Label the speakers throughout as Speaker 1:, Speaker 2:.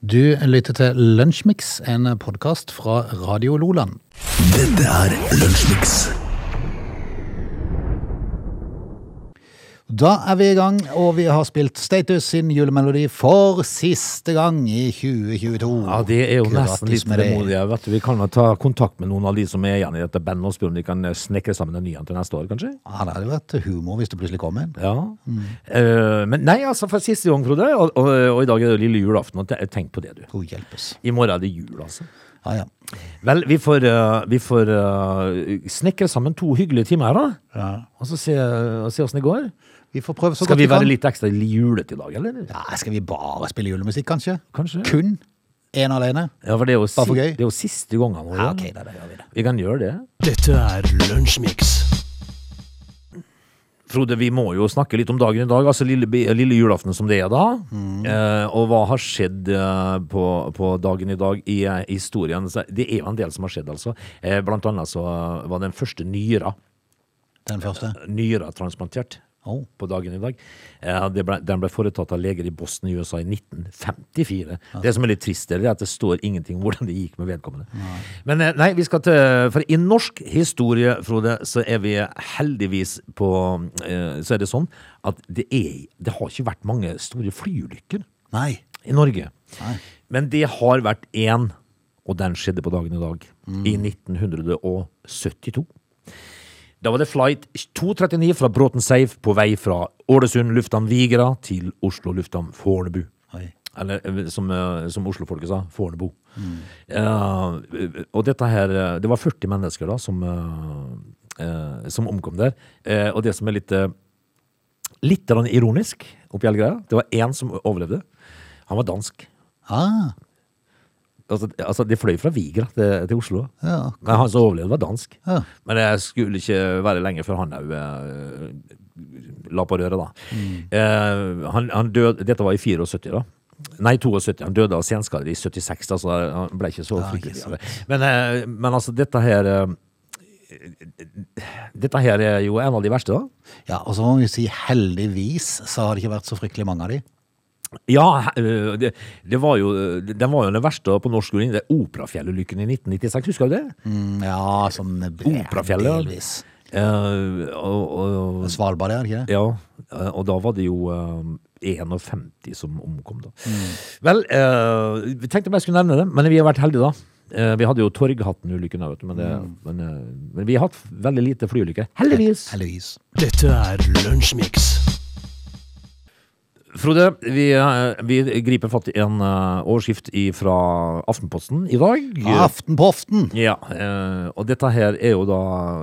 Speaker 1: Du lytter til Lunsjmix, en podkast fra Radio Loland.
Speaker 2: Dette er Lunsjmix.
Speaker 1: Da er vi i gang, og vi har spilt Status sin julemelodi for siste gang i 2022.
Speaker 3: Ja, det er jo nesten
Speaker 1: Grattis
Speaker 3: litt
Speaker 1: med det.
Speaker 3: vemodig. jeg vet. Vi kan vel ta kontakt med noen av de som er igjen i dette bandet, og spørre om de kan eh, snekre sammen en ny en til neste år, kanskje?
Speaker 1: Ja, det hadde jo vært humor hvis det plutselig kom en.
Speaker 3: Ja.
Speaker 1: Mm.
Speaker 3: Eh, men nei, altså, for siste gang, Frode, og, og, og i dag er det lille julaften, og te- tenk på det, du.
Speaker 1: God hjelpes.
Speaker 3: I morgen er det jul, altså.
Speaker 1: Ja, ja.
Speaker 3: Vel, vi får, eh, vi får eh, snekre sammen to hyggelige timer her, da.
Speaker 1: ja.
Speaker 3: Og så se, og se åssen det går.
Speaker 1: Vi får prøve så
Speaker 3: Skal
Speaker 1: godt
Speaker 3: vi
Speaker 1: vi kan.
Speaker 3: være litt ekstra julete i dag, eller?
Speaker 1: Ja, skal vi bare spille julemusikk, kanskje?
Speaker 3: Kanskje.
Speaker 1: Kun én alene?
Speaker 3: Ja, for det er jo, si,
Speaker 1: for gøy.
Speaker 3: det er jo siste gangen vår.
Speaker 1: Ja, ok, da, da gjør vi det.
Speaker 3: Vi kan gjøre det.
Speaker 2: Dette er Lunsjmix.
Speaker 3: Frode, vi må jo snakke litt om dagen i dag, altså lille, bi- lille julaften som det er da. Eh, og hva har skjedd eh, på, på dagen i dag i eh, historien? Så Det er jo en del som har skjedd, altså. Eh, blant annet så eh, var den første nyra,
Speaker 1: Den første?
Speaker 3: nyra transplantert
Speaker 1: Oh.
Speaker 3: på dagen i dag. Eh, det ble, den ble foretatt av leger i Boston i USA i 1954. Det som er litt trist, det er at det står ingenting om hvordan det gikk med vedkommende. Men eh, nei, vi skal til For i norsk historie, Frode, så er vi heldigvis på eh, Så er det sånn at det er Det har ikke vært mange store flyulykker
Speaker 1: Nei.
Speaker 3: i Norge.
Speaker 1: Nei.
Speaker 3: Men det har vært én, og den skjedde på dagen i dag, i 1972. Da var det flight 239 fra Bråten Safe på vei fra Ålesund lufthavn Vigra til Oslo lufthavn Fornebu.
Speaker 1: Oi.
Speaker 3: Eller eh, som, eh, som Oslo-folket sa, Fornebu. Eh, og dette her eh, Det var 40 mennesker da som, eh, eh, som omkom der. Eh, og det som er litt eh, Litt grann ironisk oppi hele greia, det var én som overlevde. Han var dansk.
Speaker 1: Ah,
Speaker 3: Altså, altså de fløy fra Vigra til, til Oslo.
Speaker 1: ja.
Speaker 3: Men han som overlevde, var dansk.
Speaker 1: Ja.
Speaker 3: Men det skulle ikke være lenge før han òg eh, la på røret, da.
Speaker 1: Mm.
Speaker 3: Eh, han, han døde Dette var i 74, da. Nei, 72. Han døde av senskader i 76, da, så han ble ikke så
Speaker 1: Ja, ikke
Speaker 3: fryktelig. Men, eh, men altså, dette her eh, Dette her er jo en av de verste, da.
Speaker 1: ja, og så må vi si heldigvis så har det ikke vært så fryktelig mange av de.
Speaker 3: Ja, eh, det, det var jo, den var jo den verste på norsk grunn. Det er Operafjellulykken i 1996, husker du det?
Speaker 1: Mm, ja, sånn
Speaker 3: Operafjellet.
Speaker 1: Delvis.
Speaker 3: Eh, og, og,
Speaker 1: Svalbard, er det ikke det?
Speaker 3: ja, eh, og da var det jo eh, 51 som omkom, da. Vel, eh, vi tenkte bare jeg skulle nevne det, men vi har vært heldige, da. Eh, vi hadde jo Torghatten-ulykken òg, vet du. Men, det, men, eh, men vi har hatt veldig lite flyulykker. Heldigvis!
Speaker 1: Heldigvis.
Speaker 2: Dette er Lunsjmix.
Speaker 3: Frode, vi, eh, vi griper fatt i en eh, overskrift fra Aftenposten i dag.
Speaker 1: Ah, Aftenpoften!
Speaker 3: Ja, eh, og dette her er jo da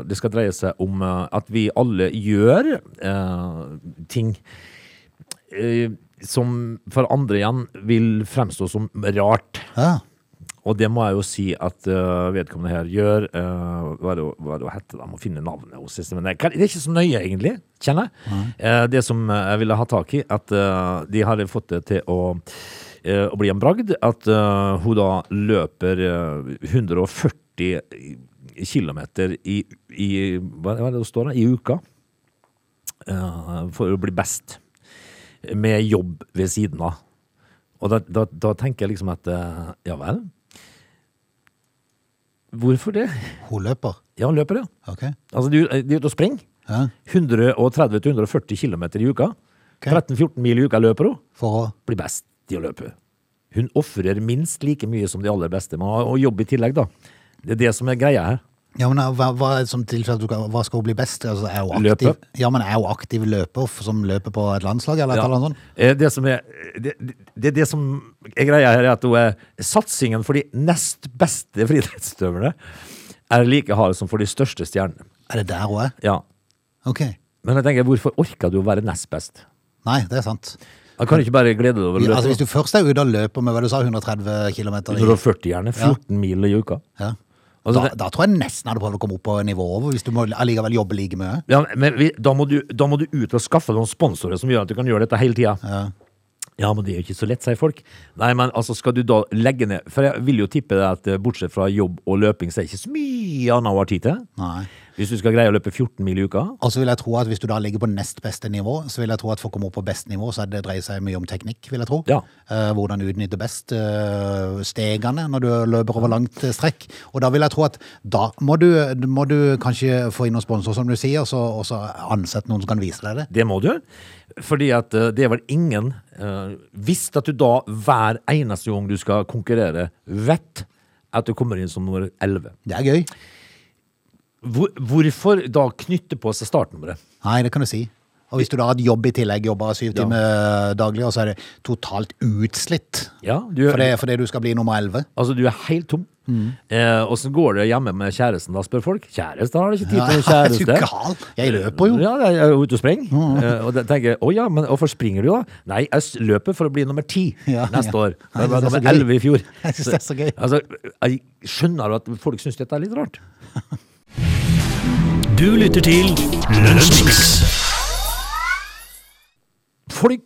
Speaker 3: Det skal dreie seg om eh, at vi alle gjør eh, ting eh, som for andre igjen vil fremstå som rart.
Speaker 1: Ja.
Speaker 3: Og det må jeg jo si at eh, vedkommende her gjør. eh, hva, er det, hva er det å hette? Jeg må finne navnet hos siste. Men det kan- det er ikke så nøye, egentlig. Kjenner jeg. Eh, det som eh, jeg ville ha tak i, at eh, de har fått det til å eh, å bli en bragd at eh, hun da løper eh, 140 kilometer i, i Hva hva er det det står da? I uka. eh, for å bli best. Med jobb ved siden av. Og da, da, da tenker jeg liksom at eh, ja vel. Hvorfor det?
Speaker 1: Hun løper.
Speaker 3: Ja, han løper, ja.
Speaker 1: Ok.
Speaker 3: Altså, de, de er ute og springer.
Speaker 1: Ja.
Speaker 3: 130-140 km i uka. 13-14 mil i uka løper hun.
Speaker 1: For å
Speaker 3: Blir best i å løpe. Hun ofrer minst like mye som de aller beste, men har og jobb i tillegg, da. Det er det som er greia her.
Speaker 1: Ja, men eh, hva, hva, er det som tilsier at du kan, hva skal hun bli best? i? Altså, er hun aktiv,
Speaker 3: Løpe.
Speaker 1: Ja, men er hun aktiv løper f- som løper på et landslag, eller et eller annet sånt?
Speaker 3: Eh, Det som er det, det, det som er greia her, er at hun er satsingen for de nest beste friidrettsutøverne er like hard som for de største stjernene.
Speaker 1: Er det der hun er?
Speaker 3: Ja.
Speaker 1: Ok.
Speaker 3: Men jeg tenker, hvorfor orker du å være nest best?
Speaker 1: Nei, det er sant.
Speaker 3: Jeg kan du ikke bare glede deg over å løpe
Speaker 1: Altså, hvis du først er ute og løper med hva du sa, 130 km i
Speaker 3: 140 gjerne, 14 mil i uka.
Speaker 1: ja.
Speaker 3: Altså,
Speaker 1: da,
Speaker 3: det-
Speaker 1: da tror jeg nesten hadde prøvd å komme opp på nivå over, hvis du må allikevel jobbe like mye.
Speaker 3: Ja, men vi, da, må du, da må du ut og skaffe noen sponsorer som gjør at du kan gjøre dette hele tida. Ja. men det er jo ikke så lett, sier folk. Nei, men altså, skal du da legge ned For jeg vil jo tippe det at eh, bortsett fra jobb og løping, så er det ikke så mye annet å ha tid til.
Speaker 1: Nei.
Speaker 3: Hvis du skal greie å løpe 14 mil i uka
Speaker 1: Og så vil jeg tro at hvis du da ligger på nest beste nivå, så vil jeg tro at for å komme opp på best nivå, så er det dreier seg mye om teknikk, vil jeg tro.
Speaker 3: Ja.
Speaker 1: Eh, hvordan du utnytter best eh, stegene når du løper over langt eh, strekk. Og da vil jeg tro at da må du, må du kanskje få inn noen sponsorer, som du sier, så, og så ansette noen som kan vise deg det.
Speaker 3: Det må du. Fordi at eh, det er vel ingen eh, Hvis at du da hver eneste gang du skal konkurrere, vet at du kommer inn som nummer 11.
Speaker 1: Det er gøy.
Speaker 3: Hvor, hvorfor da knytte på seg startnummeret?
Speaker 1: Nei, det kan du si. Og hvis du da har hatt jobb i tillegg, jobber syv
Speaker 3: Ja.
Speaker 1: timer eh, daglig, og så er det totalt utslitt
Speaker 3: Ja, du,
Speaker 1: fordi fordi du skal bli nummer elleve.
Speaker 3: Altså, du er helt tom.
Speaker 1: Mm.
Speaker 3: Eh, Åssen går det hjemme med kjæresten, da, spør folk. Kjæreste har du ikke tid til noen
Speaker 1: er du
Speaker 3: kjæreste.
Speaker 1: gal? Jeg løper jo.
Speaker 3: Ja, jeg er jo ute og springer. Eh, og da tenker jeg, å ja, men hvorfor springer du da? Nei, jeg s- løper for å bli nummer ti
Speaker 1: Ja,
Speaker 3: neste
Speaker 1: ja.
Speaker 3: år.
Speaker 1: Nei, det
Speaker 3: Jeg var
Speaker 1: er så
Speaker 3: nummer
Speaker 1: gøy.
Speaker 3: elleve i fjor.
Speaker 1: Jeg synes det er så gøy.
Speaker 3: Altså, jeg skjønner at folk syns dette er litt rart.
Speaker 2: Du lytter til Lunsjmix.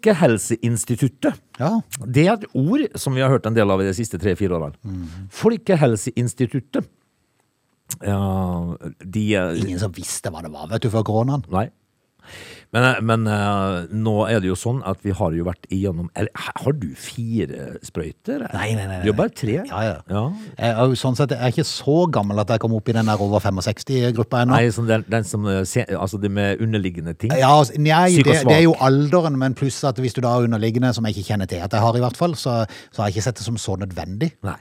Speaker 3: Folkehelseinstituttet.
Speaker 1: Ja.
Speaker 3: Det er et ord som vi har hørt en del av i de siste tre-fire årene.
Speaker 1: Mm.
Speaker 3: Folkehelseinstituttet. Ja, de eh,
Speaker 1: Ingen som visste hva det var, vet du, før koronaen.
Speaker 3: Nei. Men, eh, men eh, nå er det jo sånn at vi har jo vært igjennom eller, Har du fire sprøyter?
Speaker 1: Nei, nei, nei, nei.
Speaker 3: Du har bare tre?
Speaker 1: Ja, ja.
Speaker 3: Ja.
Speaker 1: Jeg er jo sånn sett jeg er ikke så gammel at jeg kom opp i den der over 65-gruppa ennå.
Speaker 3: Nei, sånn den, den som eh, se, Altså det med underliggende ting.
Speaker 1: Ja, altså, nei,
Speaker 3: Syk og
Speaker 1: det, det er
Speaker 3: svak.
Speaker 1: jo alderen, men pluss at hvis du da har underliggende som jeg ikke kjenner til at jeg har, i hvert fall, så, så har jeg ikke sett det som så nødvendig.
Speaker 3: Nei.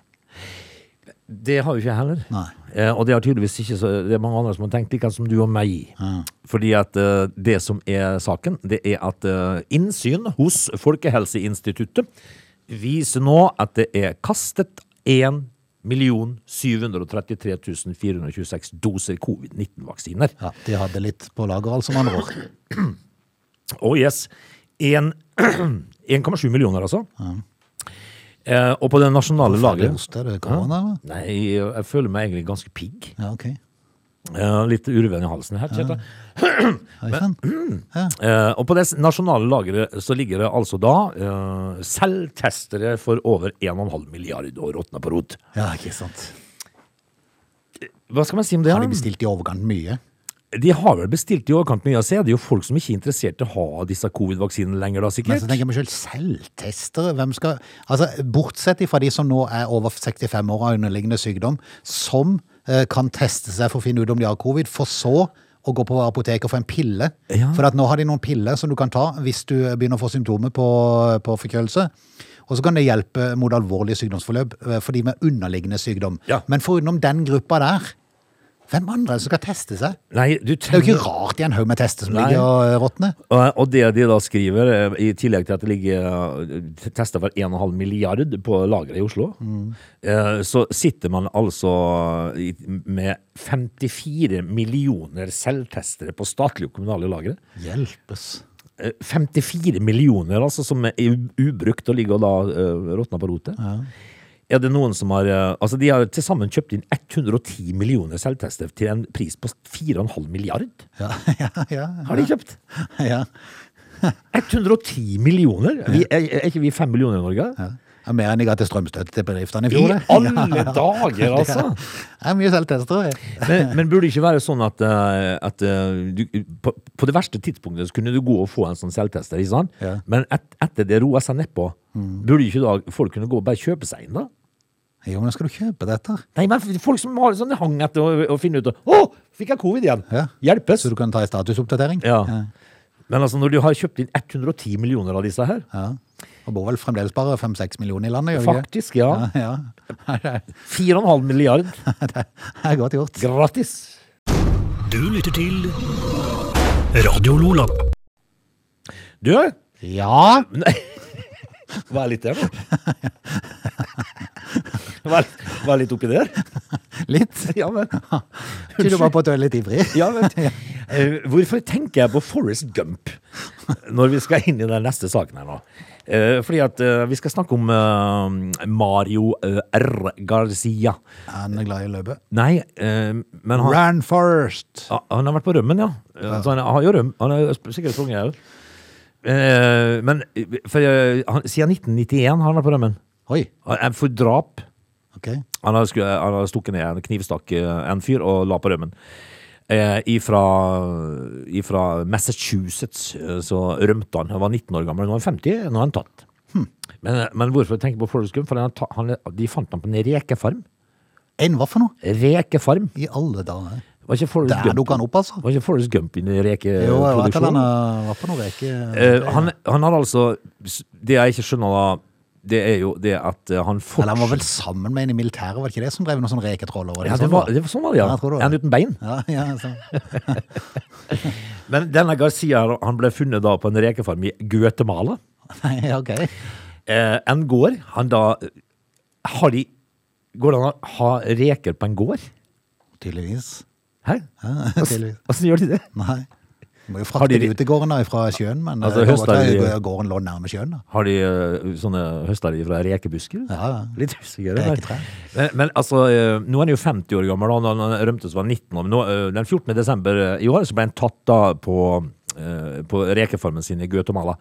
Speaker 3: Det har jo ikke jeg heller.
Speaker 1: Nei.
Speaker 3: Eh, og det har tydeligvis ikke så, Det er mange andre som har tenkt like som du og meg. Fordi at eh, det som er saken, det er at eh, innsyn hos Folkehelseinstituttet viser nå at det er kastet 1 733 426 doser covid-19-vaksiner.
Speaker 1: Ja, De hadde litt på lager, altså, med andre ord.
Speaker 3: Oh yes. En- 1,7 millioner, altså. Eh, og på det nasjonale
Speaker 1: Ferdig
Speaker 3: lageret
Speaker 1: ost, er det korona? eller?
Speaker 3: Nei, jeg føler meg egentlig ganske pigg.
Speaker 1: Ja, ok.
Speaker 3: Eh, litt ureven i halsen her. kjente jeg.
Speaker 1: Hei sann. Ja.
Speaker 3: Eh, og på det s- nasjonale lageret så ligger det altså da eh, selvtestere for over 1,5 milliard og råtner på rot.
Speaker 1: ja, ikke sant.
Speaker 3: Hva skal man si om det?
Speaker 1: Har de
Speaker 3: da?
Speaker 1: bestilt i overkant mye?
Speaker 3: de har vel bestilt i overkant mye. Så er det jo folk som ikke er interessert i å ha disse covid-vaksinene lenger, da,
Speaker 1: Men
Speaker 3: sikkert.
Speaker 1: så tenker jeg meg selv, selvtestere, hvem skal Altså, bortsett fra de som nå er over 65 år av underliggende sykdom, som eh, kan teste seg for å finne ut om de har covid, for så å gå på apoteket og få en pille.
Speaker 3: Ja.
Speaker 1: For at nå har de noen piller som du kan ta hvis du begynner å få symptomer på, på forkjølelse. Og så kan det hjelpe mot alvorlige sykdomsforløp eh, for de med underliggende sykdom.
Speaker 3: Ja.
Speaker 1: Men forutenom den gruppa der, hvem andre er det som skal teste seg?
Speaker 3: Nei,
Speaker 1: Det er
Speaker 3: du
Speaker 1: jo
Speaker 3: trenger
Speaker 1: ikke rart det er en haug med tester som
Speaker 3: Mm. Nei.
Speaker 1: ligger og eh, råtner.
Speaker 3: Og og det de da skriver, eh, i tillegg til at det ligger eh, tester for 1,5 milliard på lageret i Oslo, eh, så sitter man altså i- med 54 millioner selvtestere på statlige og kommunale lagre.
Speaker 1: Hjelpes.
Speaker 3: Eh, 54 millioner altså, som er u- ubrukt og ligger og da uh, råtner på rotet. Er det noen som har eh, Altså, de har til sammen kjøpt inn 110 millioner selvtester til en pris på 4,5 milliard.
Speaker 1: Ja, ja, ja.
Speaker 3: Har de kjøpt?
Speaker 1: Ja.
Speaker 3: 110 millioner? Vi, er, er ikke vi 5 millioner i Norge?
Speaker 1: Ja, mer enn jeg ga til strømstøtte til bedriftene i
Speaker 3: I
Speaker 1: fjor. det.
Speaker 3: alle dager, altså!
Speaker 1: Det er mye selvtestere. jeg.
Speaker 3: Men, men burde det ikke være sånn at, eh, at eh, du, på, på det verste tidspunktet så kunne du gå og få en sånn selvtester, ikke sant?
Speaker 1: Ja. Mm.
Speaker 3: Men et, etter det roer seg nedpå, burde ikke da folk kunne gå og bare kjøpe seg inn, da?
Speaker 1: Jo, men da skal du kjøpe dette.
Speaker 3: Nei, men folk som har sånn hang etter å, å finne ut Å, fikk jeg covid igjen?
Speaker 1: Ja.
Speaker 3: Hjelpes!
Speaker 1: Så du kan ta en statusoppdatering.
Speaker 3: Ja. Men altså, når du har kjøpt inn 110 millioner av disse her,
Speaker 1: Ja. Og bor vel fremdeles bare 5-6 millioner i landet, gjør du ikke?
Speaker 3: faktisk, ja.
Speaker 1: Ja, ja. Det er-
Speaker 3: 4,5 milliard.
Speaker 1: det er godt gjort.
Speaker 3: Gratis!
Speaker 2: Du lytter til Radio Lola.
Speaker 3: Du,
Speaker 1: Ja,
Speaker 3: Vær litt der, da. Vær, vær litt oppi der.
Speaker 1: litt.
Speaker 3: Ja, men.
Speaker 1: Tror du var på et litt ivrig.
Speaker 3: Ja, men. Eh, Hvorfor tenker jeg på Forrest Gump når vi skal inn i den neste saken her nå? Eh, Fordi at eh, vi skal snakke om eh, Mario eh, R. Garcia.
Speaker 1: Han er glad i å løpe.
Speaker 3: Nei, eh, men han,
Speaker 1: Run first.
Speaker 3: Ja, han har vært på rømmen, ja. Eh, Så han har jo røm. Han har jo sp- sikkert sprunget, jeg òg. Men for, eh, han, siden 1991 har han vært på rømmen.
Speaker 1: Oi,
Speaker 3: Han er For drap.
Speaker 1: ok.
Speaker 3: eh, Han hadde, sku- han hadde stukket ned en knivstakk eh, en fyr og la på rømmen. eh, ifra, ifra Massachusetts, eh, så rømte han. Han var 19 år gammel, nå er han 50, nå er han tatt.
Speaker 1: Hm.
Speaker 3: Men, eh, men hvorfor tenker jeg på Forrest Gump? For han, er ta- han, er- de fant ham på en rekefarm.
Speaker 1: En hva for noe?
Speaker 3: Rekefarm?
Speaker 1: I alle dager.
Speaker 3: Var ikke Forrest
Speaker 1: Der
Speaker 3: Gump,
Speaker 1: dukka han opp, altså.
Speaker 3: var ikke Forrest Gump inn i
Speaker 1: Jo, jeg vet at han
Speaker 3: rekeproduksjonen?
Speaker 1: eh, var på noe reke.
Speaker 3: Eh, han, han har altså Det jeg ikke skjønner da, det er jo det at eh, han
Speaker 1: Eller han var
Speaker 3: fortsatt
Speaker 1: vel sammen med en i militæret, var det ikke det som drev noe sånn reketroll over
Speaker 3: ja, det, var, det var sånn var det, ja.
Speaker 1: Ja, jeg tror det var
Speaker 3: Er han uten bein?
Speaker 1: Ja, ja, altså. så.
Speaker 3: Men denne Garcia han ble funnet da på en rekefarm i Guatemala.
Speaker 1: Nei, ok.
Speaker 3: Eh, en gård. Han da Har de Går det an å ha reker på en gård?
Speaker 1: Tydeligvis.
Speaker 3: Hæ?
Speaker 1: Ja, tydeligvis.
Speaker 3: Åssen gjør de det?
Speaker 1: Nei. Du må jo
Speaker 3: Har
Speaker 1: frakte
Speaker 3: de-
Speaker 1: de ut til gården da, fra sjøen, men
Speaker 3: Altså,
Speaker 1: altså,
Speaker 3: høster de-
Speaker 1: gården lå nærme sjøen. da.
Speaker 3: Har de eh, sånne høster de fra rekebusker?
Speaker 1: Ja, ja.
Speaker 3: Litt usikker. men-
Speaker 1: Reketre.
Speaker 3: Men, men altså, eh, nå er han jo 50 år gammel, og han han rømte så var han 19 år. Men nå, eh, den 14. desember eh, i år så ble han tatt da på, eh, på rekefarmen sin i Guatemala.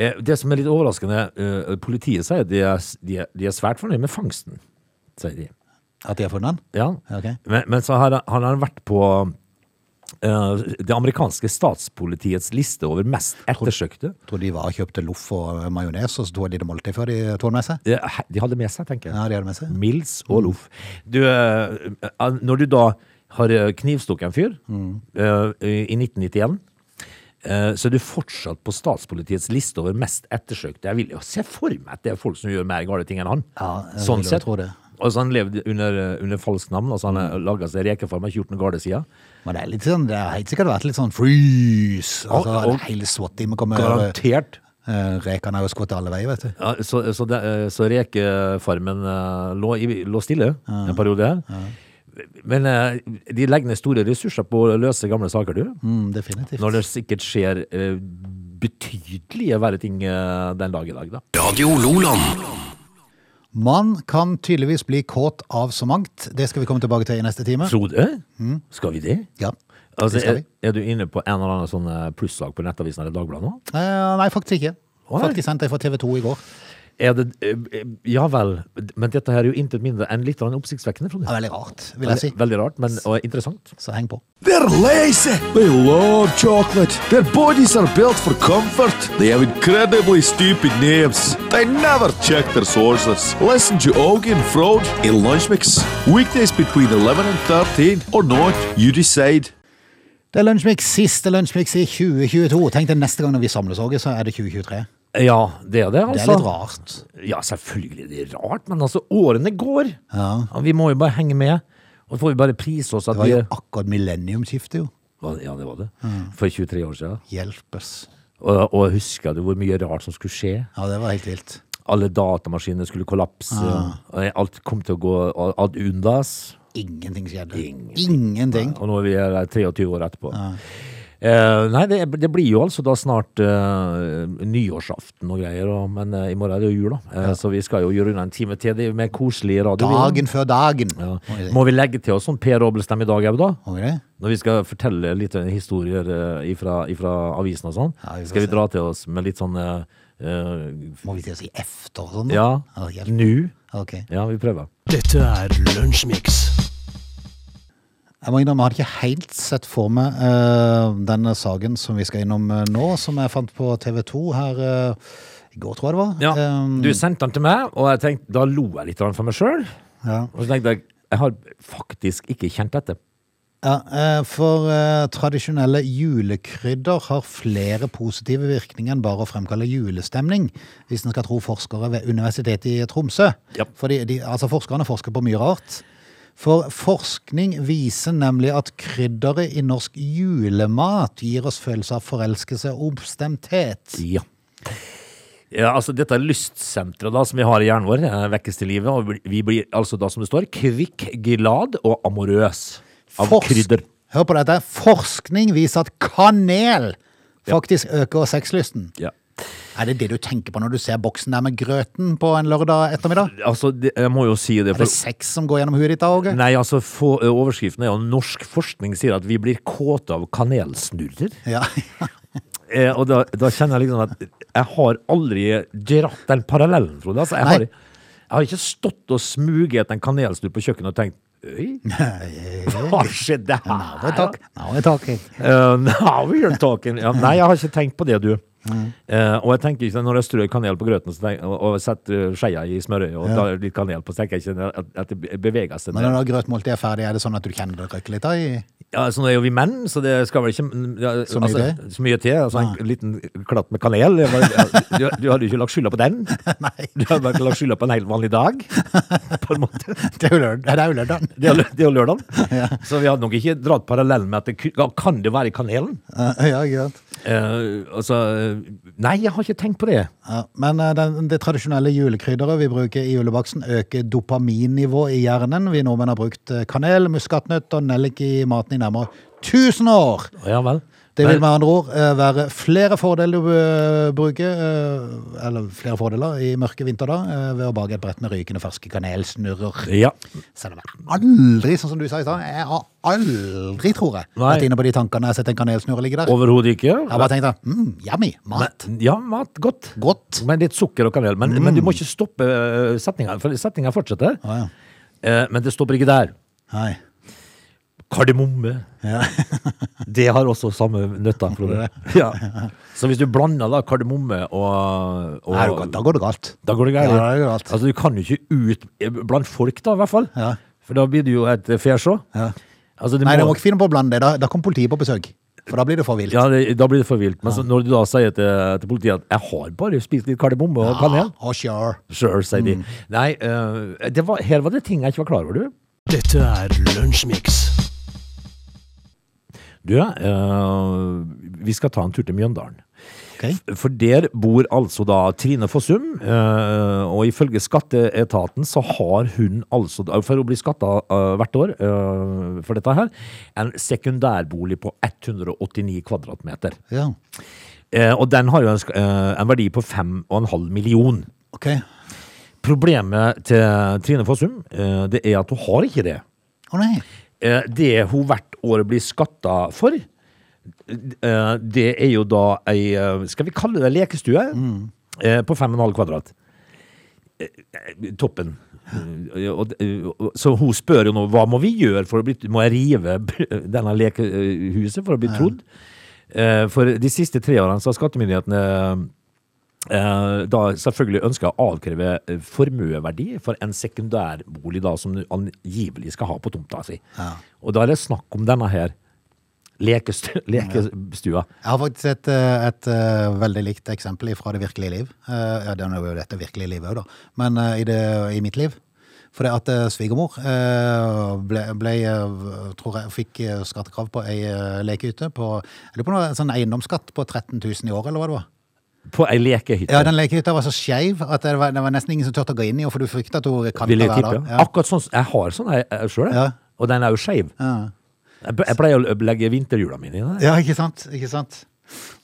Speaker 3: Eh, Det som er litt overraskende, eh, politiet sier at de er, de er, de er svært fornøyd med fangsten, sier de.
Speaker 1: At de har funnet den?
Speaker 3: Ja.
Speaker 1: Ok.
Speaker 3: Men, men så har han- han har vært på eh, det amerikanske statspolitiets liste over mest ettersøkte.
Speaker 1: Jeg tror de var og kjøpte loff og eh, majones, og så tok de det måltid før de tok den med seg.
Speaker 3: Eh, De hadde med seg, tenker jeg.
Speaker 1: Ja, de hadde med seg.
Speaker 3: Mils og Loff. Du, eh, når du da har eh, knivstukket en fyr
Speaker 1: Mm.
Speaker 3: eh, i 1991, eh, så er du fortsatt på statspolitiets liste over mest ettersøkte. Jeg vil jo se for meg at det er folk som gjør mer gale ting enn han.
Speaker 1: Ja, jeg
Speaker 3: sånn
Speaker 1: vil jo
Speaker 3: sett.
Speaker 1: tro det.
Speaker 3: Altså han levde under, eh, under falsk navn, altså han mm. laget seg rekefarmer 14 gale sider.
Speaker 1: Men det er litt sånn, det har helt sikkert vært litt sånn freeze. Altså,
Speaker 3: Og- og-
Speaker 1: en hel SWAT-team kommer over.
Speaker 3: Garantert.
Speaker 1: Eh, Rekene har jo skutt alle veier, vet du.
Speaker 3: Ja, så, så, det, eh, så rekefarmen eh, lå, i- lå stille en periode her. Men eh, de legger ned store ressurser på å løse gamle saker, du.
Speaker 1: Mm, definitivt.
Speaker 3: Når det sikkert skjer eh, betydelige verre ting eh, den dag i dag, da.
Speaker 2: Radio Loland.
Speaker 1: Man kan tydeligvis bli kåt av så mangt. Det skal vi komme tilbake til i neste time.
Speaker 3: Frode, skal vi det?
Speaker 1: Ja, Mm.
Speaker 3: Altså,
Speaker 1: det skal vi.
Speaker 3: er, er du inne på en eller annen sånn eh, plussak på Nettavisen eller Dagbladet nå?
Speaker 1: Eh, nei, faktisk ikke.
Speaker 3: Å, nei.
Speaker 1: Faktisk sendte jeg fra TV 2 i går.
Speaker 3: Er det, eh, eh, ja vel, men dette her er jo intet mindre enn litt grann oppsiktsvekkende, Frode.
Speaker 1: Det er veldig rart, vil jeg si.
Speaker 3: Veldig- Veldig rart, men og interessant.
Speaker 1: Så heng på.
Speaker 4: They're lazy. They love chocolate. Their bodies are built for comfort. They have incredibly stupid names. They never check their sources. Listen to Augie and Frode in Lunch Mix. Weekdays between 11 and 13 or not, you decide.
Speaker 1: Det er Lunsjmix, siste Lunsjmix i 2022. Tenk deg neste gang når vi samles, Åge, så er det 2023.
Speaker 3: Ja, det er det,
Speaker 1: Det
Speaker 3: altså.
Speaker 1: er litt rart.
Speaker 3: Ja, selvfølgelig er det er rart, men altså, årene går. Og Vi må jo bare henge med. Og så får vi bare prise oss at
Speaker 1: Det var
Speaker 3: vi
Speaker 1: jo Mm. akkurat millenniumskiftet, jo.
Speaker 3: Hva- Ja, det var det. For 23 år siden.
Speaker 1: Hjelpes.
Speaker 3: Og, og husker du hvor mye rart som skulle skje?
Speaker 1: Ja, det var helt vilt.
Speaker 3: Alle datamaskinene skulle kollapse.
Speaker 1: Ah.
Speaker 3: og eh, Alt kom til å gå ad undas.
Speaker 1: Ingenting skjedde.
Speaker 3: Ingenting.
Speaker 1: Ingenting.
Speaker 3: Og nå er vi her 23 år etterpå.
Speaker 1: Ah.
Speaker 3: Eh, nei, det, det blir jo altså da snart eh, nyårsaften og greier, og, men eh, i morgen er det jo jul, da. Eh, Så vi skal jo gjøre unna en time til det er med koselig radio.
Speaker 1: Dagen før dagen.
Speaker 3: Ja.
Speaker 1: Må vi si.
Speaker 3: Må vi legge til oss sånn Per Obelstemme i dag òg, da?
Speaker 1: Må vi det?
Speaker 3: Når vi skal fortelle litt eh, historier eh, ifra, ifra avisen og sånn,
Speaker 1: Ja, vi får
Speaker 3: skal vi
Speaker 1: se.
Speaker 3: dra til oss med litt sånn eh, eh,
Speaker 1: Må vi til å si efter og sånn? da?
Speaker 3: Ja,
Speaker 1: hjelp.
Speaker 3: nå.
Speaker 1: Ok.
Speaker 3: Ja, vi prøver.
Speaker 2: Dette er Lunsjmix.
Speaker 1: Jeg må innrømme, jeg hadde ikke helt sett for meg eh, denne saken som vi skal innom eh, nå, som jeg fant på TV 2 her eh, i går, tror jeg det var.
Speaker 3: Ja,
Speaker 1: Eh,
Speaker 3: du sendte den til meg, og jeg tenkte, da lo jeg litt av den for meg sjøl.
Speaker 1: ja.
Speaker 3: Og så tenkte jeg, jeg har faktisk ikke kjent dette.
Speaker 1: Ja, eh, for eh, tradisjonelle julekrydder har flere positive virkninger enn bare å fremkalle julestemning, hvis en skal tro forskere ved Universitetet i Tromsø.
Speaker 3: Ja.
Speaker 1: Fordi de, altså forskerne forsker på mye rart. For forskning viser nemlig at krydderet i norsk julemat gir oss følelse av forelskelse og oppstemthet.
Speaker 3: Ja. Ja, altså Dette er lystsenteret da, som vi har i hjernen vår, eh, vekkes til livet. Og vi blir- vi blir altså da, som det står, kvikk, glad og amorøs av
Speaker 1: Forsk-
Speaker 3: krydder.
Speaker 1: Hør på dette. Forskning viser at kanel faktisk øker sexlysten.
Speaker 3: Ja.
Speaker 1: Er det det du tenker på når du ser boksen der med grøten på en lørdag ettermiddag?
Speaker 3: Altså, det, Jeg må jo si det.
Speaker 1: Er det sex som går gjennom huet ditt da, Åge?
Speaker 3: Nei, altså få- Overskriften er jo 'Norsk forskning sier at vi blir kåte av kanelsnurrer'.
Speaker 1: Ja.
Speaker 3: Eh, og da, da kjenner jeg liksom at jeg har aldri dratt den parallellen, Frode. Altså, jeg,
Speaker 1: Nei.
Speaker 3: har, jeg har ikke stått og smuget en kanelsnurr på kjøkkenet og tenkt Oi,
Speaker 1: Nå
Speaker 3: hva skjedde her?
Speaker 1: er takk. Nå er takk.
Speaker 3: Eh, now we're talking. Ja, nei, jeg har ikke tenkt på det, du. Eh, og jeg tenker ikke, Når jeg strør kanel på grøten så tenker, og, og setter skeia i smørøyet og tar litt kanel på, så tenker jeg ikke at, at det beveger seg.
Speaker 1: Men når da grøtmåltidet er ferdig, er det sånn at du kjenner det røkker litt da? i-
Speaker 3: Ja, sånn er jo vi menn, så det skal vel ikke ja,
Speaker 1: Så mye Ah.
Speaker 3: altså, så mye til. Altså, en liten klatt med kanel. det var- ja, Du, du hadde jo ikke lagt skylda på den.
Speaker 1: Nei,
Speaker 3: Du hadde bare lagt skylda på en helt vanlig dag. På en måte.
Speaker 1: det er jo lørd- det er jo lørdag.
Speaker 3: Det er jo lø- det er jo lørdag. Så vi hadde nok ikke dratt parallellen med at det ku- ja, kan det være i kanelen.
Speaker 1: Ja, ikke sant.
Speaker 3: Eh, altså, nei, jeg har ikke tenkt på det.
Speaker 1: Ja, men eh, den, det tradisjonelle julekrydderet vi bruker i julebaksten, øker dopaminnivået i hjernen. Vi nordmenn har brukt eh, kanel, muskatnøtt og nellik i maten i nærmere 1000 år.
Speaker 3: Ja vel.
Speaker 1: Det vil
Speaker 3: Men-
Speaker 1: med andre ord eh, være flere fordeler du eh, bruker, eh, eller flere fordeler i mørke vinter da, eh, ved å bake et brett med rykende ferske kanelsnurrer.
Speaker 3: ja.
Speaker 1: Selv om jeg aldri, sånn som du sa i stad, jeg har aldri, tror jeg,
Speaker 3: Nei.
Speaker 1: vært inne på de tankene jeg har sett en kanelsnurre ligge der.
Speaker 3: Overhodet ikke.
Speaker 1: Jeg har bare tenkt da, mm, yummy, mat, Mm.
Speaker 3: Ja, mat. Godt.
Speaker 1: godt.
Speaker 3: Med litt sukker og kanel. Men, men du må ikke stoppe eh, setninga, for setninga fortsetter.
Speaker 1: Å ja.
Speaker 3: Eh, men det stopper ikke der.
Speaker 1: Hei.
Speaker 3: Kardemomme.
Speaker 1: Ja.
Speaker 3: Det har også samme nøtta, Frode. Ja. Så hvis du blander da kardemomme og, og
Speaker 1: Nei, du kan- da går det galt.
Speaker 3: Da går det galt.
Speaker 1: Ja, det går galt.
Speaker 3: Altså, du kan jo ikke ut blant folk, da, i hvert fall.
Speaker 1: Ja.
Speaker 3: For da blir det jo et fjesjå.
Speaker 1: Ja.
Speaker 3: Altså, det
Speaker 1: Nei, du
Speaker 3: må,
Speaker 1: må ikke finne på å blande det. Da, da kommer politiet på besøk. For da blir det for vilt.
Speaker 3: ja, det, da blir det for vilt. Men så, når du da sier til, til politiet at 'jeg har bare spist litt kardemomme og kanel',
Speaker 1: Ah, oh, sure.
Speaker 3: sure, sier
Speaker 1: Mm.
Speaker 3: de. Nei, eh, det var, her var det ting jeg ikke var klar over, du.
Speaker 2: Dette er Lunsjmix.
Speaker 3: Du, eh, vi skal ta en tur til Mjøndalen.
Speaker 1: Ok.
Speaker 3: For der bor altså da Trine Fossum, eh, og ifølge skatteetaten så har hun altså, da- for å bli skatta eh, hvert år eh, for dette her, en sekundærbolig på 189 kvadratmeter.
Speaker 1: Ja.
Speaker 3: Eh, Og den har jo en, sk- eh, en verdi på 5,5 million.
Speaker 1: Ok.
Speaker 3: Problemet til Trine Fossum, eh, det er at hun har ikke det.
Speaker 1: Å nei.
Speaker 3: Eh, Det hun hvert år blir skatta for, eh, det er jo da ei eh, Skal vi kalle det lekestue? Eh, På 5,5 kvadrat. Eh, eh, Toppen. Eh, og- og- Så hun spør jo nå hva må vi gjøre for å bli Må jeg rive denne lekehuset for å bli trodd? Eh, For de siste tre årene så har skattemyndighetene eh, da selvfølgelig ønsker å avkreve eh, formueverdi for en sekundærbolig da, som du angivelig skal ha på tomta si.
Speaker 1: Ja.
Speaker 3: Og da er det snakk om denne her lekestu- lekestua.
Speaker 1: Jeg har faktisk sett eh, et eh, veldig likt eksempel fra det virkelige liv. Eh, Ja, det er jo dette virkelige livet òg, da. Men eh, i, det, i mitt liv. For det at eh, svigermor eh, ble, ble eh, tror jeg, fikk eh, skattekrav på ei eh, lekehytte på Jeg lurer på noe sånn eiendomsskatt på 13 000 i året, eller hva det var?
Speaker 3: På ei lekehytte.
Speaker 1: Ja, den lekehytta var så skeiv at det var, det var nesten ingen som turte å gå inn i henne, for du frykta at hun kanta
Speaker 3: vil jeg
Speaker 1: hver
Speaker 3: tippe.
Speaker 1: dag. Ja.
Speaker 3: Akkurat sånn, Jeg har sånn sjøl,
Speaker 1: Ja.
Speaker 3: og den er jo skeiv.
Speaker 1: Ja.
Speaker 3: Jeg, jeg pleier å legge vinterhjula mine i den.
Speaker 1: ja, ikke sant? Ikke sant?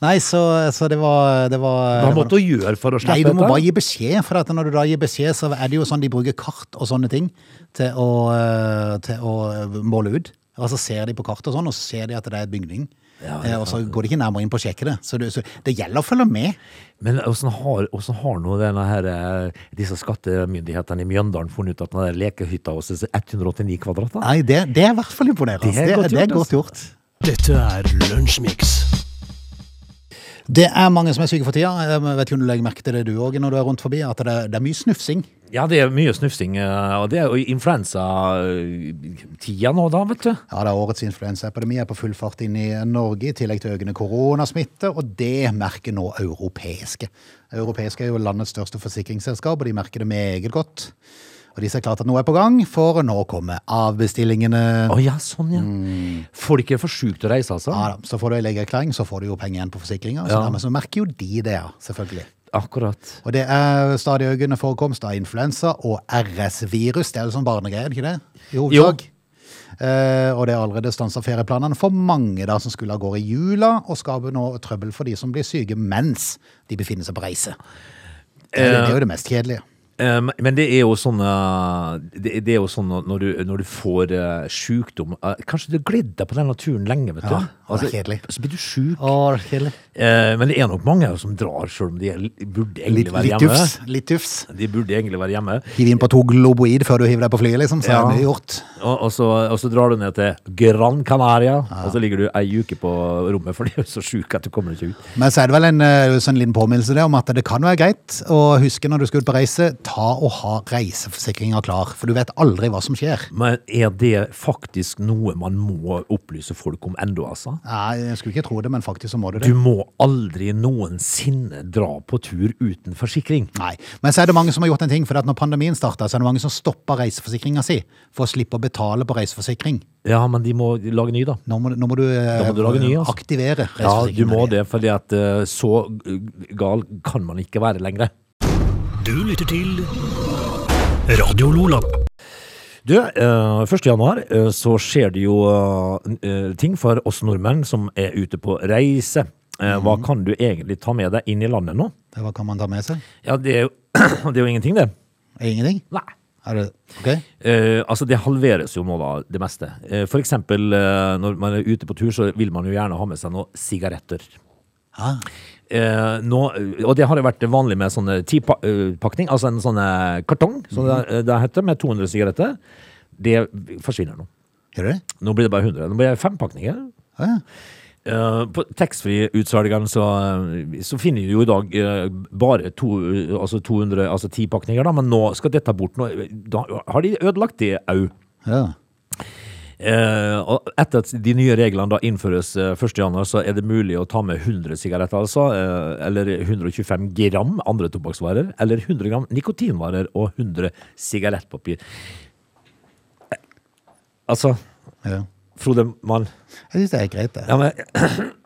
Speaker 1: Nei, så, så det var, det var
Speaker 3: Hva
Speaker 1: det var-
Speaker 3: måtte hun gjøre for å
Speaker 1: Nei,
Speaker 3: slippe
Speaker 1: du må bare gi beskjed, for at når du da gir beskjed, så er det jo sånn de bruker kart og sånne ting til å, eh, til å måle ut. Og så ser de på kart og sånn, og så ser de at det er et bygning.
Speaker 3: Ja,
Speaker 1: Eh, og så går de ikke nærmere inn på å sjekke det. Så, du, så det gjelder å følge med.
Speaker 3: Men hvordan har, hvordan har nå denne her, eh, disse skattemyndighetene i Mjøndalen funnet ut at den der lekehytta hos oss er 189 kvadrat? da?
Speaker 1: Nei, det, det er i hvert fall imponerende.
Speaker 3: Det er godt
Speaker 1: det er
Speaker 3: gjort,
Speaker 1: godt
Speaker 3: altså.
Speaker 1: gjort.
Speaker 2: Dette er Lunsjmix.
Speaker 1: Det er mange som er syke for tida. Jeg vet ikke om du legger merke til det du òg når du er rundt forbi, at det er, det er mye snufsing.
Speaker 3: Ja, det er mye snufsing, eh, og det er jo influensatida nå da, vet du.
Speaker 1: Ja, det er Årets influensaepidemi er på full fart inn i Norge, i tillegg til økende koronasmitte, og det merker nå europeiske. Europeiske er jo landets største forsikringsselskap, og de merker det meget godt. Og de ser klart at noe er på gang, for nå kommer avbestillingene.
Speaker 3: Å ja, sånn ja. Folk er for syke til å reise, altså.
Speaker 1: Mm. Ja, da. Så får du en legeerklæring, så får du jo penger igjen på forsikringa. Så
Speaker 3: Ja.
Speaker 1: dermed så merker jo de det, ja, selvfølgelig.
Speaker 3: Akkurat.
Speaker 1: Og det er stadig økende forekomst av influensa og RS-virus. Det er jo sånn barnegreier, er det ikke det? I hovedsak. Eh, og det er allerede stansa ferieplanene for mange da som skulle av gårde i jula, og skaper nå trøbbel for de som blir syke mens de befinner seg på reise. Det er, det er jo det mest kjedelige.
Speaker 3: Eh, men- Men det er jo sånn eh, Det det er jo sånn at når du, når du får eh, sykdom eh, Kanskje du har gledd deg på denne turen lenge, vet du. Altså,
Speaker 1: Ja, og det er kjedelig.
Speaker 3: Så blir du syk.
Speaker 1: Å, kjedelig.
Speaker 3: Eh, Men det er nok mange som drar, sjøl om de er, burde egentlig
Speaker 1: Litt,
Speaker 3: være
Speaker 1: litt
Speaker 3: hjemme.
Speaker 1: tufs. Litt tufs.
Speaker 3: De burde egentlig være hjemme.
Speaker 1: Hiv inn på to globoid før du hiver deg på flyet, liksom, så
Speaker 3: Ja.
Speaker 1: er det mye gjort.
Speaker 3: Og, og, så, og så drar du ned til Gran Canaria, og så ligger du ei uke på rommet, for du er så sjuk at du kommer ikke ut.
Speaker 1: Men så er det vel en eh, sånn liten påminnelse der om at det kan være greit å huske når du skal ut på reise, ta og ha reiseforsikringa klar, for du vet aldri hva som skjer.
Speaker 3: Men er det faktisk noe man må opplyse folk om ennå, altså?
Speaker 1: Nei, jeg skulle ikke tro det, men faktisk så må du det.
Speaker 3: Du må aldri noensinne dra på tur uten forsikring.
Speaker 1: Nei, men så er det mange som har gjort en ting, for at når pandemien starta, så er det mange som stoppa reiseforsikringa si for å slippe å betale på reiseforsikring.
Speaker 3: Ja, men de må lage ny, da.
Speaker 1: Nå må, nå må du, eh,
Speaker 3: Da må du lage ny, altså.
Speaker 1: aktivere
Speaker 3: Ja, du
Speaker 1: reiseforsikringa.
Speaker 3: må det, fordi at eh, så eh, gal kan man ikke være lenger.
Speaker 2: Du lytter til Radio Lola.
Speaker 3: Du, eh, 1. januar eh, så skjer det jo eh, n- eh, ting for oss nordmenn som er ute på reise. Eh, Hva kan du egentlig ta med deg inn i landet nå?
Speaker 1: Det, hva kan man ta med seg?
Speaker 3: Ja, det er jo, det er jo ingenting, det.
Speaker 1: Ingenting?
Speaker 3: Nei.
Speaker 1: Er det, ok?
Speaker 3: Eh, altså Det halveres jo nå, da, det meste. Eh, for eksempel eh, når man er ute på tur, så vil man jo gjerne ha med seg noen sigaretter.
Speaker 1: Ja.
Speaker 3: Eh, nå, og det har jo vært vanlig med sånne tipakning, altså en sånn eh, kartong, som det, det heter, med 200 sigaretter. Det forsvinner nå.
Speaker 1: Gjør du det?
Speaker 3: Nå blir det bare 100. Nå blir det fem pakninger.
Speaker 1: Ja, ja.
Speaker 3: Eh, på taxfree-utsalgene så, eh, så finner du jo i dag eh, bare to, altså 200, altså 10 pakninger, da, men nå skal dette bort. Nå, da har de ødelagt det au
Speaker 1: ja.
Speaker 3: Eh, og etter at de nye reglene da innføres eh, 1. januar, så er det mulig å ta med 100 sigaretter, altså. Eh, eller 125 gram andre tobakksvarer. Eller 100 gram nikotinvarer og 100 sigarettpapir. Eh, Altså,
Speaker 1: ja.
Speaker 3: Frode Mann
Speaker 1: Jeg syns det er greit, det.
Speaker 3: Ja, men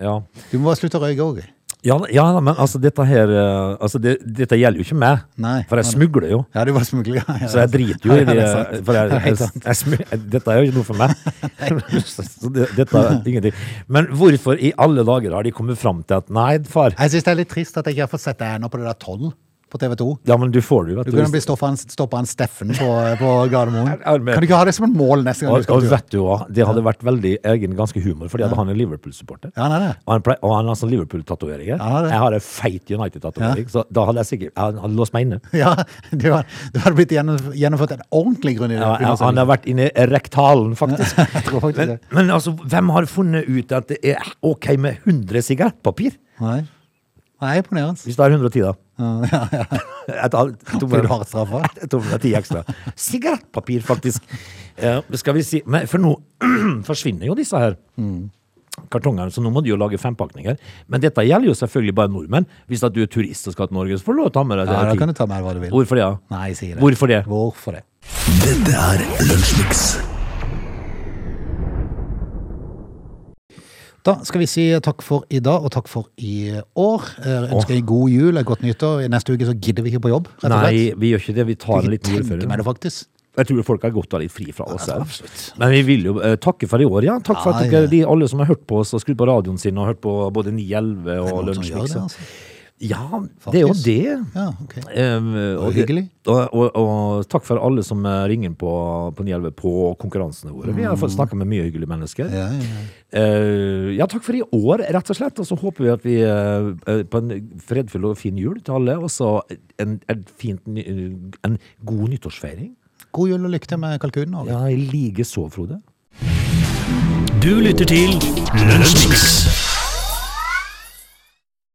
Speaker 3: Ja.
Speaker 1: Du må bare slutte å røyke òg.
Speaker 3: Ja, ja da, men altså, dette her eh, altså, det, Dette gjelder jo ikke meg,
Speaker 1: Nei.
Speaker 3: for jeg smugler jo.
Speaker 1: Ja, du var smugler. Ja, ja.
Speaker 3: Så jeg driter jo i
Speaker 1: Ja,
Speaker 3: det.
Speaker 1: det er sant.
Speaker 3: For jeg,
Speaker 1: Det er
Speaker 3: jeg,
Speaker 1: helt
Speaker 3: jeg,
Speaker 1: sant.
Speaker 3: smu- dette er jo ikke noe for meg. Så- så det- dette er ingenting. Men hvorfor i alle dager har de kommet fram til at nei, far
Speaker 1: Jeg syns det er litt trist at jeg ikke har fått sett deg ennå på det der 12 på TV 2.
Speaker 3: Ja, men du får det jo. vet
Speaker 1: Du kunne
Speaker 3: du.
Speaker 1: bli stoppa av Steffen på, på Gardermoen.
Speaker 3: Er du med?
Speaker 1: Kan du ikke ha det som et mål neste gang
Speaker 3: Og,
Speaker 1: du skal
Speaker 3: og
Speaker 1: på tur?
Speaker 3: vet du hva, det hadde vært veldig egen ganske humor, fordi at han er Liverpool-supporter.
Speaker 1: Ja, han er det.
Speaker 3: Og han, plei- og han har sånn Liverpool-tatoveringer.
Speaker 1: Han har det.
Speaker 3: Jeg har en feit United-tatovering, så da hadde jeg sikkert Han hadde låst meg inne.
Speaker 1: Ja, du har, du har blitt gjennom- gjennomført en ordentlig grunn i det.
Speaker 3: Ja, han har vært inne i rektalen, faktisk.
Speaker 1: Jeg tror faktisk
Speaker 3: Men,
Speaker 1: det.
Speaker 3: men altså, hvem har funnet ut at det er OK med 100 sigarettpapir?
Speaker 1: Nei. Nei, imponerende.
Speaker 3: Hvis det er 110, da. Et halvt, to
Speaker 1: Blir du hardt straffa?
Speaker 3: Jeg tror det er ti ekstra. Sigarettpapir, faktisk. Eh, skal vi si Men for nå forsvinner jo disse her
Speaker 1: Mm.
Speaker 3: kartongene, så nå må de jo lage fempakninger. Men dette gjelder jo selvfølgelig bare nordmenn. Hvis at du er turist og skal til Norge, så får du lov å ta med deg
Speaker 1: Ja, da
Speaker 3: ti.
Speaker 1: kan du ta med hva du vil.
Speaker 3: Hvorfor det? Ja?
Speaker 1: Nei, jeg sier det.
Speaker 3: Hvorfor det?
Speaker 1: Hvorfor det?
Speaker 2: Dette er Lunsjmix.
Speaker 1: Da skal vi si takk for i dag, og takk for i år. Jeg ønsker deg god jul, et godt nyttår. I Neste uke så gidder vi ikke på jobb, rett og slett.
Speaker 3: Nei, vi gjør ikke det. Vi tar en
Speaker 1: Jeg
Speaker 3: liten
Speaker 1: tenker
Speaker 3: juleferie.
Speaker 1: meg det faktisk.
Speaker 3: Jeg tror folk har godt av litt fri fra oss.
Speaker 1: Ja,
Speaker 3: her.
Speaker 1: absolutt.
Speaker 3: Men vi vil jo eh, takke for i år, ja. Takk for
Speaker 1: Ja,
Speaker 3: at dere,
Speaker 1: ja.
Speaker 3: de, alle som har hørt på oss og skrudd på radioen sin og hørt på både 911 og
Speaker 1: Noen som gjør
Speaker 3: Lunsjmix.
Speaker 1: det, altså.
Speaker 3: Ja, det er jo
Speaker 1: Faktisk.
Speaker 3: det.
Speaker 1: Ja, ok.
Speaker 3: Um,
Speaker 1: Og hyggelig.
Speaker 3: Og, og, og takk for alle som eh, ringer på, på 911 på konkurransene våre. Vi har fått snakka med mye hyggelige mennesker.
Speaker 1: Mm. Ja, ja, ja.
Speaker 3: Eh, ja, takk for i år, rett og slett. Og så håper vi at vi eh, eh, på en fredfull og fin jul til alle. Og så en, en, fint ny- en god nyttårsfeiring.
Speaker 1: God jul og lykke til med kalkunen. Åge.
Speaker 3: Ja, i like så, Frode.
Speaker 2: Du lytter til Lunsjmix.